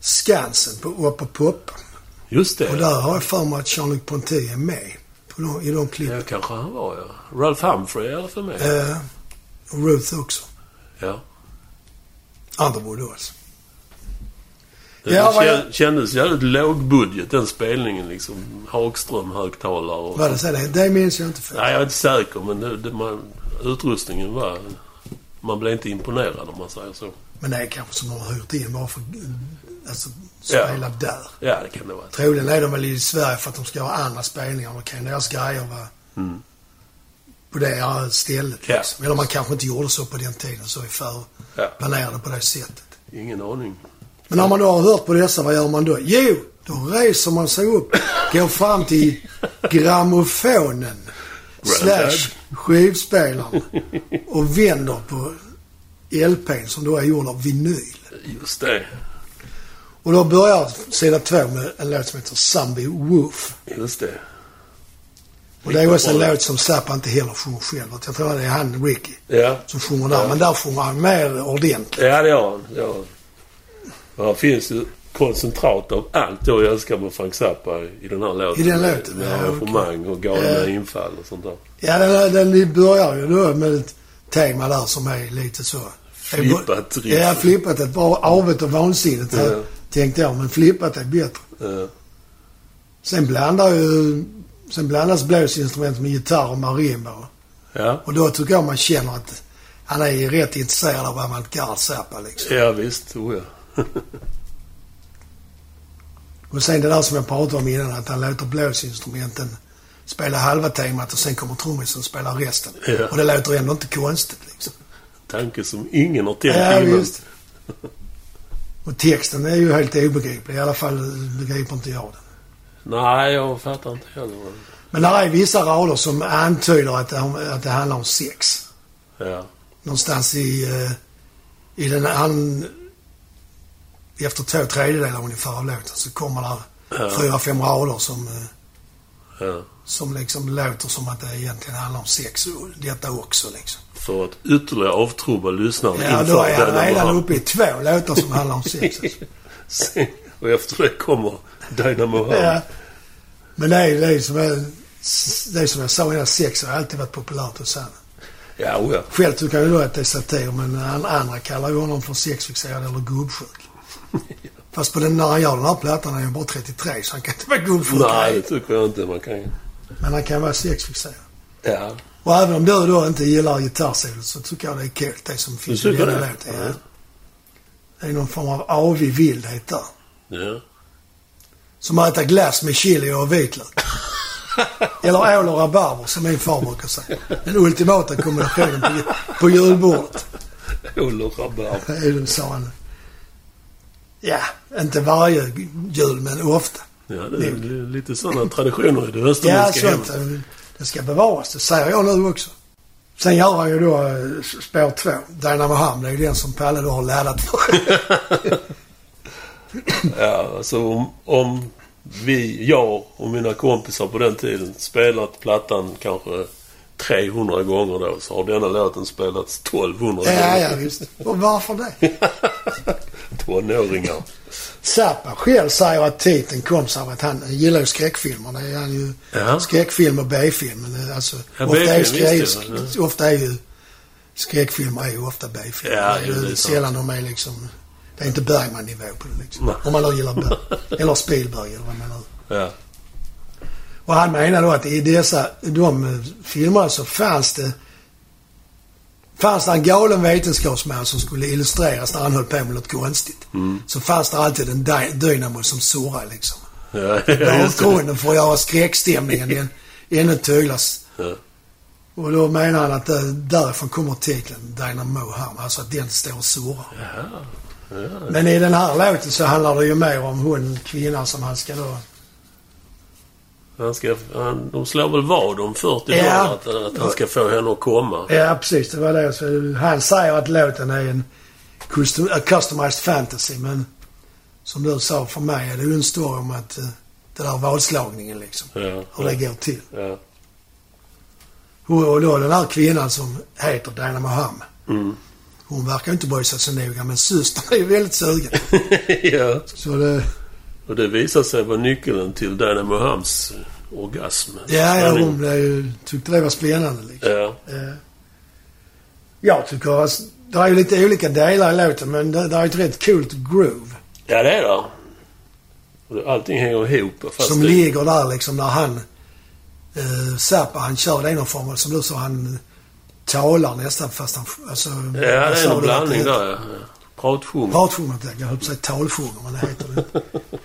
Speaker 1: Skansen på, uppe på Poppen.
Speaker 2: Just
Speaker 1: Och
Speaker 2: det.
Speaker 1: där har jag för mig att Jean-Luc Ponty är med på de, i de klippen.
Speaker 2: Det kanske han var ja. Ralph Humphrey är för mig.
Speaker 1: Eh, och Ruth också.
Speaker 2: Ja.
Speaker 1: Underwood också.
Speaker 2: Det
Speaker 1: Ja, vad
Speaker 2: kän-
Speaker 1: jag-
Speaker 2: kändes jävligt lågbudget den spelningen liksom. Hagström högtalare och...
Speaker 1: Vad är det så det? Det minns jag inte för.
Speaker 2: Nej, jag är inte säker, men det, det, man, utrustningen var... Man blev inte imponerad om man säger så.
Speaker 1: Men det är kanske som de har hyrt in bara för alltså,
Speaker 2: Ja.
Speaker 1: spela där.
Speaker 2: Ja, det kan det vara.
Speaker 1: Troligen är de väl i Sverige för att de ska ha andra spelningar. Då kan deras grejer vara på det här stället.
Speaker 2: Mm. Ja.
Speaker 1: Liksom. Eller man kanske inte gjorde så på den tiden, så är för
Speaker 2: Ja.
Speaker 1: planerade på det sättet.
Speaker 2: Ingen aning.
Speaker 1: Men när man då har hört på dessa, vad gör man då? Jo, då reser man sig upp, går fram till grammofonen
Speaker 2: Grandad.
Speaker 1: slash skivspelaren och vänder på LPn som då är gjord av vinyl.
Speaker 2: Just det.
Speaker 1: Och då börjar sida två med en låt som heter Zombie Woof.
Speaker 2: Just det.
Speaker 1: Och det är också en
Speaker 2: Riktigt bra.
Speaker 1: låt som Zappa inte heller sjunger själv. Jag tror det är han, Ricky,
Speaker 2: Ja,
Speaker 1: som sjunger där. Men där sjunger han mer ordentligt.
Speaker 2: ja det gör han. Det gör han. Och Här finns ju koncentrat av allt jag älskar med Frank Zappa i den här låten.
Speaker 1: I den låten,
Speaker 2: Med
Speaker 1: ja, okej.
Speaker 2: arrangemang och galna
Speaker 1: Ja.
Speaker 2: infall och sånt där.
Speaker 1: Ja, den, den, den börjar ju då med ett tema där som är lite så...
Speaker 2: Flippat riff.
Speaker 1: Ja, flippat. Ett bra avigt och vansinnigt
Speaker 2: Ja.
Speaker 1: tänkte jag. Men flippat är bättre.
Speaker 2: Eh,
Speaker 1: Sen blandar ju... Sen blandas blåsinstrument med gitarr och marimba.
Speaker 2: ja.
Speaker 1: Och då tycker jag man känner att han är rätt intresserad av avantgarde Zappa liksom.
Speaker 2: ja, visst. Oh, ja.
Speaker 1: Och sen det där som jag pratade om innan, att han låter blåsinstrumenten spela halva temat och sen kommer trummisen och spelar resten.
Speaker 2: Ja.
Speaker 1: Och det låter ändå inte konstigt liksom.
Speaker 2: Tanke som ingen har tänkt
Speaker 1: Ja,
Speaker 2: innan.
Speaker 1: visst. Och texten är ju helt obegriplig. I alla fall begriper inte jag den.
Speaker 2: Nej, jag fattar inte heller. vad-
Speaker 1: Men där är vissa rader som antyder att det, att det handlar om sex.
Speaker 2: Ja.
Speaker 1: Någonstans i, eh, i den han Efter två tredjedelar ungefär av låten så kommer där
Speaker 2: Ja.
Speaker 1: fyra, fem rader som eh,
Speaker 2: ja.
Speaker 1: Som liksom låter som att det egentligen handlar om sex och detta också liksom.
Speaker 2: För att ytterligare avtrubba lyssnaren
Speaker 1: Ja, då är han redan uppe i två låtar som handlar om sex. Alltså.
Speaker 2: Sen, och efter det kommer Dynamo Hall.
Speaker 1: Ja. Men det är det är som jag, det är som jag sa innan, sex har alltid varit populärt hos honom.
Speaker 2: Ja, oh ja.
Speaker 1: Själv tycker jag ju då att det är satir, men an- andra kallar ju honom för sexfixerad eller gubbsjuk. Fast på den, när han gör den här plattan är han ju bara 33, så han kan inte vara gubbsjuk.
Speaker 2: Nej, det tycker jag inte man kan.
Speaker 1: Men han kan vara sexfixerad.
Speaker 2: Ja.
Speaker 1: Och även om du då inte gillar gitarrsolot så tycker jag det är kul det som finns
Speaker 2: Du
Speaker 1: i
Speaker 2: tycker
Speaker 1: denna
Speaker 2: det?
Speaker 1: låten.
Speaker 2: Ja.
Speaker 1: Ja. Det är någon form av avig vildhet där.
Speaker 2: ja.
Speaker 1: Som att äta glass med chili och vitlök. Eller ål och rabarber som min far brukar säga. Den ultimata kombinationen på, på julbordet.
Speaker 2: Ull och rabarber.
Speaker 1: Det är det, sa han. Ja, inte varje jul men ofta.
Speaker 2: Ja, det är li- lite sådana traditioner i det
Speaker 1: Ja,
Speaker 2: österländska
Speaker 1: sånt.
Speaker 2: hemmet.
Speaker 1: Det ska bevaras. Det säger jag nu också. Sen gör han ju då eh, spår två. Dynamo Hamn. Det är ju den som Palle då har laddat för.
Speaker 2: Ja, alltså om, om vi, jag och mina kompisar på den tiden spelat plattan kanske 300 gånger då så har denna låten spelats 1200
Speaker 1: ja, ja,
Speaker 2: gånger.
Speaker 1: visst. Och varför det?
Speaker 2: Tonåringar.
Speaker 1: Zappa själv säger att titeln kom sig av att han gillar ju skräckfilmer. Det är han ju.
Speaker 2: Ja.
Speaker 1: Skräckfilm och B-film. men det är Alltså,
Speaker 2: Ja,
Speaker 1: ofta, är
Speaker 2: B-film,
Speaker 1: skrä-
Speaker 2: visst, ja.
Speaker 1: sk- ofta är ju skräckfilmer är ju ofta B-filmer.
Speaker 2: Ja,
Speaker 1: det är
Speaker 2: jo, det är
Speaker 1: ju
Speaker 2: sant.
Speaker 1: sällan de är liksom... Det är inte Bergman-nivå på det liksom.
Speaker 2: Nej.
Speaker 1: Om man nu gillar Bergman. Eller Spielberg eller vad man nu...
Speaker 2: Ja.
Speaker 1: Och han menar då att i dessa, de eh, filmerna så fanns det Fanns det en galen vetenskapsman som skulle illustreras när han höll på med något konstigt.
Speaker 2: Mm.
Speaker 1: Så fanns det alltid en dy- dynamo som surrade liksom.
Speaker 2: Ja, ja, just det.
Speaker 1: Bakgrunden för att göra skräckstämningen än- ännu tydligast.
Speaker 2: Ja.
Speaker 1: Och då menar han att eh, därifrån kommer titeln Dynamo Harm. Alltså att den står och surrar. Men i den här låten så handlar det ju mer om hon, kvinnan som han ska då...
Speaker 2: Han ska, han, de slår väl vad om 40
Speaker 1: Ja.
Speaker 2: dollar att, att han ska få henne att komma.
Speaker 1: Ja, precis. Det var det. Så han säger att låten är en custom, a customized fantasy, men som du sa, för mig är det ju en story om att eh, den där vadslagningen liksom.
Speaker 2: Ja,
Speaker 1: Hur det går till.
Speaker 2: ja.
Speaker 1: Och och då den här kvinnan som heter Dynamo Ham.
Speaker 2: Mm.
Speaker 1: Hon verkar ju inte bry sig så noga, men systern är ju väldigt sugen.
Speaker 2: ja.
Speaker 1: Så det...
Speaker 2: Och det visar sig vara nyckeln till Dynamo Hams orgasm.
Speaker 1: Ja, ja,
Speaker 2: Spänning.
Speaker 1: hon blev ju, tyckte det var spännande liksom.
Speaker 2: Ja,
Speaker 1: Eh, Jag tycker... alltså, Det är ju lite olika delar i låten, men det, det är ju ett rätt coolt groove.
Speaker 2: ja det är det. Och det- Allting hänger ihop. Fast
Speaker 1: som
Speaker 2: det,
Speaker 1: ligger där liksom när han... Eh, Zappa, han kör det i någon form av, som du sa, han talar nästan fast han... Alltså,
Speaker 2: Ja, det är en blandning där. ja. Pratsjung.
Speaker 1: Pratsjunger, jag höll på att säga talsjunger, men det heter det inte.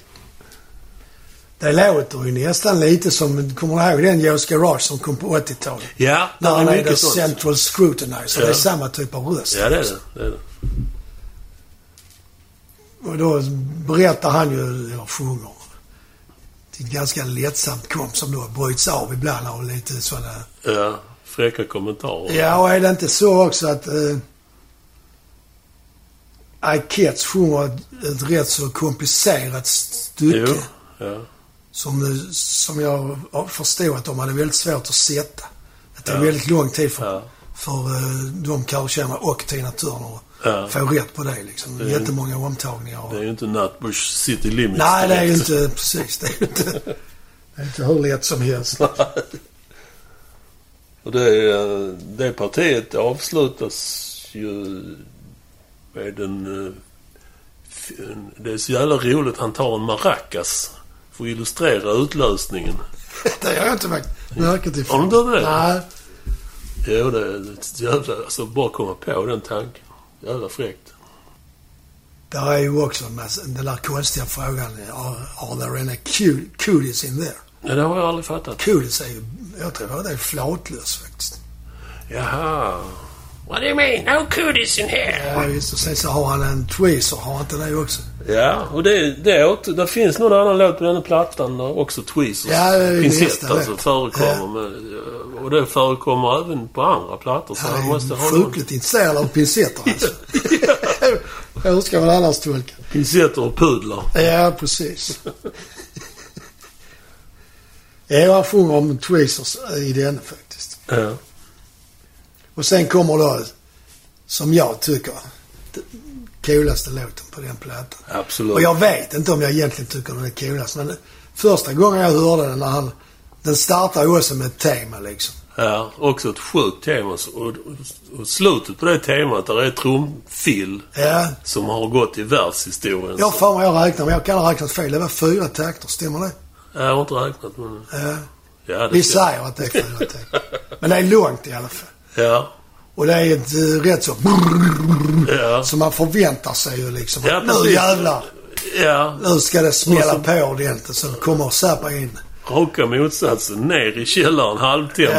Speaker 1: Det låter ju nästan lite som, kommer du ihåg den Joe's Garage som kom på 80-talet?
Speaker 2: Ja, det
Speaker 1: När han
Speaker 2: är
Speaker 1: är The
Speaker 2: mycket sånt.
Speaker 1: Central Scrutinizer. Det
Speaker 2: Ja.
Speaker 1: är samma typ av röst.
Speaker 2: Ja, det är det. det, är det.
Speaker 1: Och då berättar han ju, eller sjunger, till ett ganska lättsamt komp som då bryts av ibland av lite sådana...
Speaker 2: Ja, fräcka kommentarer.
Speaker 1: Ja, och är det inte så också att eh, Aikets sjunger ett, ett rätt så komplicerat stycke
Speaker 2: Jo, ja.
Speaker 1: som, eh, som jag förstod att de hade väldigt svårt att sätta. Att det är
Speaker 2: Ja.
Speaker 1: väldigt lång tid för,
Speaker 2: Ja.
Speaker 1: för eh, de Karlkärna och Tina Turner att
Speaker 2: Ja.
Speaker 1: få rätt på det. Liksom.
Speaker 2: är-
Speaker 1: Jättemånga omtagningar. Och,
Speaker 2: Det är ju inte Nutbush City Limits
Speaker 1: Nej, det är ju
Speaker 2: direkt.
Speaker 1: inte precis. Det är ju inte, det är inte hur lätt som helst.
Speaker 2: Och det, eh, det partiet avslutas ju med en, eh, f- en... Det är så jävla roligt. Han tar en maracas för att illustrera utlösningen.
Speaker 1: Det har jag inte märkt- märkt
Speaker 2: Har du
Speaker 1: ifrån.
Speaker 2: inte hört det?
Speaker 1: Nej.
Speaker 2: Jo, det är ett jävla... Alltså, bara komma på den tanken. Jävla fräckt.
Speaker 1: Där är ju också en massa, den där konstiga frågan. Are, are there any cu- cooties in there?
Speaker 2: Ja, det har jag aldrig fattat.
Speaker 1: Cooties är ju... Jag tror att det är flatlös faktiskt.
Speaker 2: Jaha. What do you mean? No cooties in here!
Speaker 1: Ja, visst. Och sen så har han en tweezer. Har han inte det också?
Speaker 2: Ja, och det, det, åter, det finns någon annan låt på den här plattan där också tweezers,
Speaker 1: Ja, det är ju
Speaker 2: pincett
Speaker 1: nästa
Speaker 2: alltså,
Speaker 1: låt.
Speaker 2: förekommer. Men, och det förekommer även på andra plattor. Så
Speaker 1: Han
Speaker 2: han
Speaker 1: är
Speaker 2: måste
Speaker 1: ju
Speaker 2: ha någon
Speaker 1: sjukligt intresserad av pincetter alltså. Hur ska man annars tolka?
Speaker 2: pincetter och pudlar.
Speaker 1: Ja, precis. ja, han sjunger om tweezers i den faktiskt.
Speaker 2: Ja.
Speaker 1: Och sen kommer då, som jag tycker, den coolaste låten på den plattan.
Speaker 2: Absolut.
Speaker 1: Och jag vet inte om jag egentligen tycker den är coolast, men första gången jag hörde den när han... Den startar ju också med ett tema liksom.
Speaker 2: Ja, också ett sjukt tema. Så- Och, och slutet på det temat, där är trumfill
Speaker 1: Ja.
Speaker 2: som har gått i världshistorien.
Speaker 1: Jag har
Speaker 2: Så-
Speaker 1: för mig jag räknar, men jag kan ha räknat fel. Det var fyra takter, stämmer det?
Speaker 2: jag har inte räknat men
Speaker 1: Ja.
Speaker 2: Ja, det
Speaker 1: Vi
Speaker 2: ska-
Speaker 1: säger att det är Fönötäng. Men det är långt i alla fall.
Speaker 2: Ja.
Speaker 1: Och det är ett eh, rätt så...
Speaker 2: Ja.
Speaker 1: Så man förväntar sig ju liksom
Speaker 2: Ja,
Speaker 1: att nu
Speaker 2: precis.
Speaker 1: jävlar.
Speaker 2: Ja.
Speaker 1: Nu ska det smälla på ordentligt så det kommer att zappa in.
Speaker 2: Raka motsatsen. Ner i källaren halvtempo.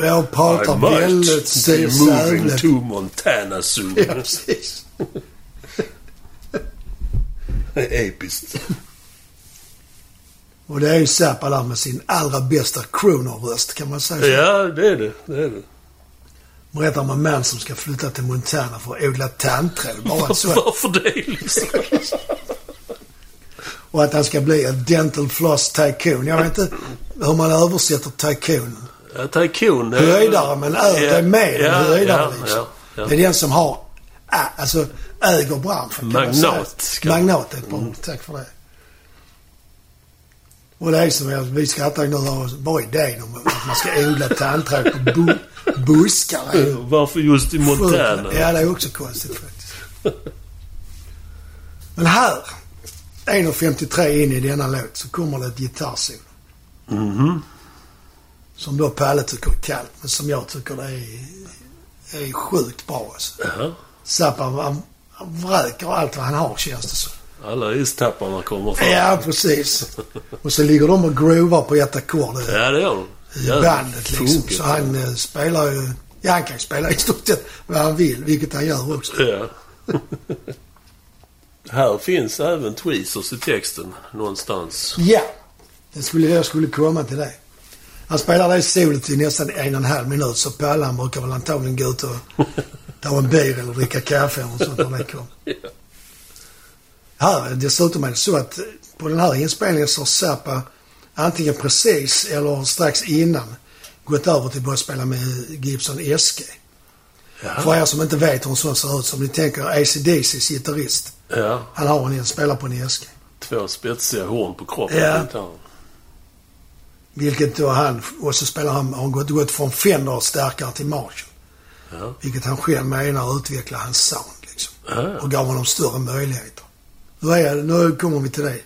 Speaker 1: Jag, jag pratar
Speaker 2: I might
Speaker 1: väldigt
Speaker 2: be moving
Speaker 1: sävligt.
Speaker 2: to Montana soon.
Speaker 1: Ja, precis.
Speaker 2: Det är Episkt.
Speaker 1: Och det är ju Zappa där med sin allra bästa crooner-röst kan man säga.
Speaker 2: Ja, det är det. det, är det.
Speaker 1: Berättar om en man som ska flytta till Montana för att odla tandtråd. Bara en sån.
Speaker 2: Varför det liksom?
Speaker 1: Och att han ska bli en dental floss tycoon. Jag vet inte hur man översätter tycoon.
Speaker 2: Ja, eh, Taikon. det-
Speaker 1: Höjdare, men ö, det är mer än höjdare liksom.
Speaker 2: ja.
Speaker 1: Det är den som har, ä- alltså äger branschen. kan man säga.
Speaker 2: Magnat, ska- Mm.
Speaker 1: Magnat är ett bra ord. Tack för det. Och det är som jag, vi skrattar nu har bara idén om att man ska odla tandtråd på bu, buskar. är ju
Speaker 2: Varför just i
Speaker 1: sjukt.
Speaker 2: Montana?
Speaker 1: Ja, det är också konstigt faktiskt. Men här, 1.53 in i denna låt, så kommer det ett gitarrsolo.
Speaker 2: Mhm.
Speaker 1: Som då Palle tycker är kallt, men som jag tycker det är, är sjukt bra alltså.
Speaker 2: Ja.
Speaker 1: Zappa han, han vräker allt vad han har känns det som.
Speaker 2: Alla istapparna kommer fram. Ja,
Speaker 1: Ja, precis. Och så ligger de och groovar på ett ackord i
Speaker 2: det gör de.
Speaker 1: i
Speaker 2: Jävligt
Speaker 1: bandet liksom.
Speaker 2: funkigt.
Speaker 1: Så han eh, spelar ju... Ja, han kan ju spela i stort sett vad han vill, vilket han gör också.
Speaker 2: Ja. Här finns även tweezers i texten någonstans.
Speaker 1: Ja, det skulle, jag skulle komma till det. Han spelar det solet i nästan en och en halv minut, så Palle han brukar väl antagligen gå ut och ta en bil eller dricka kaffe eller sånt när det kommer. Här, dessutom är det så att på den här inspelningen så har Zappa antingen precis eller strax innan gått över till att börja spela med Gibson SG.
Speaker 2: Ja.
Speaker 1: För er som inte vet hur en sån ser ut, som ni tänker ACDCs gitarrist.
Speaker 2: ja.
Speaker 1: Han har en, spelar på en SG.
Speaker 2: Två spetsiga horn på kroppen.
Speaker 1: Ja.
Speaker 2: gitarren.
Speaker 1: Vilket då han, och så spelar han, har han gått, gått från Fender starkare till Marshall.
Speaker 2: Ja.
Speaker 1: Vilket han själv menar utvecklar hans sound liksom.
Speaker 2: Ja.
Speaker 1: Och gav honom större möjligheter. Nu, är, nu kommer vi till det.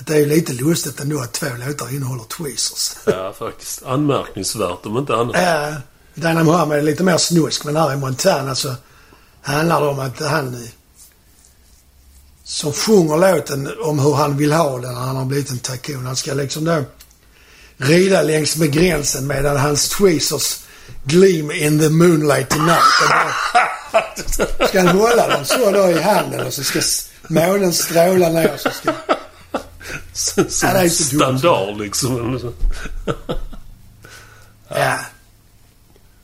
Speaker 1: Att det är ju lite lustigt ändå att två låtar innehåller tweezers.
Speaker 2: ja, faktiskt. Anmärkningsvärt om inte annat.
Speaker 1: Ja, Eh, Dana Mohammed är lite mer snusk, men här i Montana så handlar det om att han eh, som sjunger låten om hur han vill ha den när han har blivit en tycoon. Han ska liksom då rida längs med gränsen medan hans tweezers gleam in the moonlight tonight. Och då Ska han hålla dem så då i handen och så ska s- månen stråla ner och så ska...
Speaker 2: Som
Speaker 1: Ja, det är så dumt.
Speaker 2: standard liksom.
Speaker 1: Ja.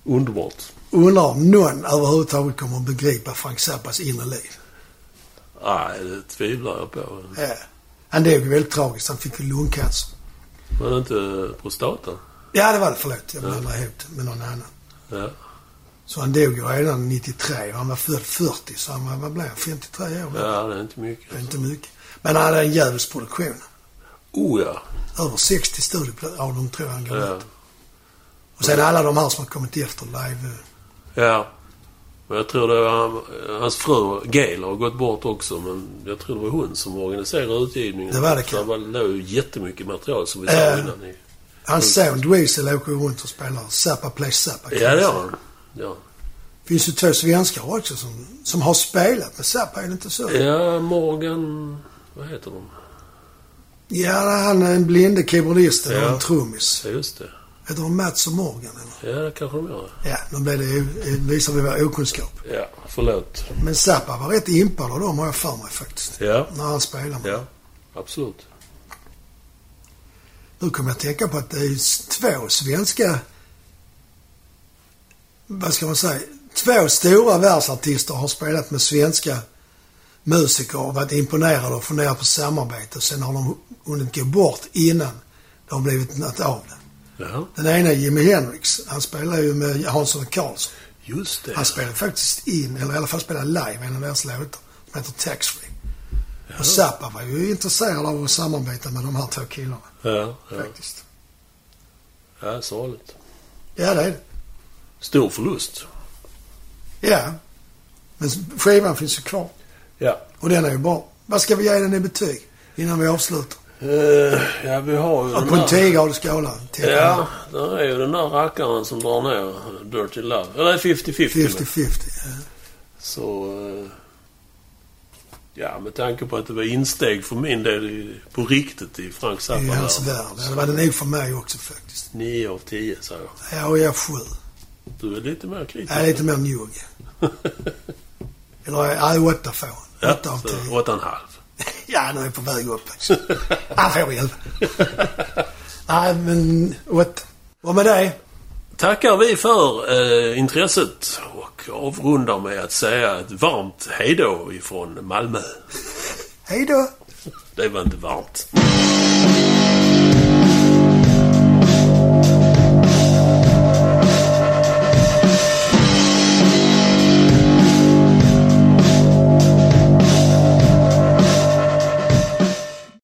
Speaker 2: Underbart.
Speaker 1: Undrar om någon överhuvudtaget kommer att begripa Frank Zappas inre liv.
Speaker 2: Nej, det tvivlar jag på.
Speaker 1: Ja. Han dog ju väldigt tragiskt. Han fick ju lungcancer.
Speaker 2: Men inte prostata?
Speaker 1: Ja, det var det. Förlåt. Jag blandade ihop det med någon annan.
Speaker 2: Ja.
Speaker 1: Så han dog ju redan 93 och han var född 40. Så han var, vad blev han? 53 år?
Speaker 2: ja, det är inte
Speaker 1: Det
Speaker 2: mycket.
Speaker 1: är inte mycket. Men han hade en djävulsk produktion.
Speaker 2: Oh ja.
Speaker 1: Över 60 studioplattor av dem tror jag han gav
Speaker 2: ja.
Speaker 1: ut. Och sen alla de här som har kommit efter live. eh,
Speaker 2: Ja. Men jag tror det var hans fru Gail har gått bort också. Men jag tror det var hon som organiserade utgivningen.
Speaker 1: Det var det,
Speaker 2: För Det var, låg ju jättemycket material som vi sa
Speaker 1: Äh.
Speaker 2: innan. I.
Speaker 1: Hans son Dweezil åker ju runt och spelar Zappa Play Zappa. kan
Speaker 2: Mm. Ja,
Speaker 1: man
Speaker 2: det
Speaker 1: säga.
Speaker 2: har han. Ja.
Speaker 1: finns ju två svenskar också som, som har spelat med Zappa, är det inte så?
Speaker 2: ja, Morgan... Vad heter de?
Speaker 1: Ja, han är en blinde keyboardisten och
Speaker 2: Ja.
Speaker 1: en trummis.
Speaker 2: Ja, just det.
Speaker 1: Heter de Mats och Morgan eller?
Speaker 2: Ja, det kanske de gör.
Speaker 1: Ja, nu blev det, ju- visar vi vår okunskap.
Speaker 2: Ja, förlåt.
Speaker 1: Men Zappa var rätt impad av dem har jag för mig faktiskt.
Speaker 2: Ja,
Speaker 1: När han spelade med.
Speaker 2: ja. Absolut.
Speaker 1: Nu kommer jag att tänka på att det är ju s- två svenska... Vad ska man säga? Två stora världsartister har spelat med svenska musiker och varit imponerade och funderat på samarbete. Och sen har de hunnit gå bort innan det har blivit något av det.
Speaker 2: Ja,
Speaker 1: Den ena är Jimi Hendrix. Han spelar ju med Hansson och Karlsson.
Speaker 2: just det.
Speaker 1: Han spelade faktiskt in, eller i alla fall spelade live, en av deras låtar som heter Tax Free. Och Zappa var ju intresserad av att samarbeta med de här två killarna
Speaker 2: Ja, ja.
Speaker 1: faktiskt.
Speaker 2: ja sorgligt.
Speaker 1: Ja, det är det.
Speaker 2: Stor förlust.
Speaker 1: Ja. Men skivan finns ju kvar.
Speaker 2: Ja.
Speaker 1: Och den är ju bra. Vad ska vi ge den i betyg innan vi avslutar?
Speaker 2: Eh, ja, vi har ju
Speaker 1: Ja,
Speaker 2: den
Speaker 1: på en
Speaker 2: där-
Speaker 1: 10-gradig skala.
Speaker 2: Ja, där är ju den där rackaren som drar ner eh, Dirty Love. Eller 50-50. 50.
Speaker 1: 50-50. ja.
Speaker 2: Så... eh, Ja, med tanke på att det var insteg för min del i, på riktigt i Frank Zappa.
Speaker 1: I hans
Speaker 2: där.
Speaker 1: värld. Ja, Det var det nog för mig också faktiskt.
Speaker 2: Nio av tio, säger jag.
Speaker 1: Ja, och jag sju.
Speaker 2: Du är lite mer kritisk.
Speaker 1: Jag är lite mer njugg. Eller, nej, åtta får han. Åtta av
Speaker 2: så
Speaker 1: tio.
Speaker 2: Åtta och en halv.
Speaker 1: Ja, nu är jag på väg upp. också. Han får hjälp. Nej, men åtta. Vad med dig?
Speaker 2: Tackar vi för eh, intresset och avrundar med att säga ett varmt hejdå ifrån Malmö.
Speaker 1: Hej då!
Speaker 2: Det var inte varmt.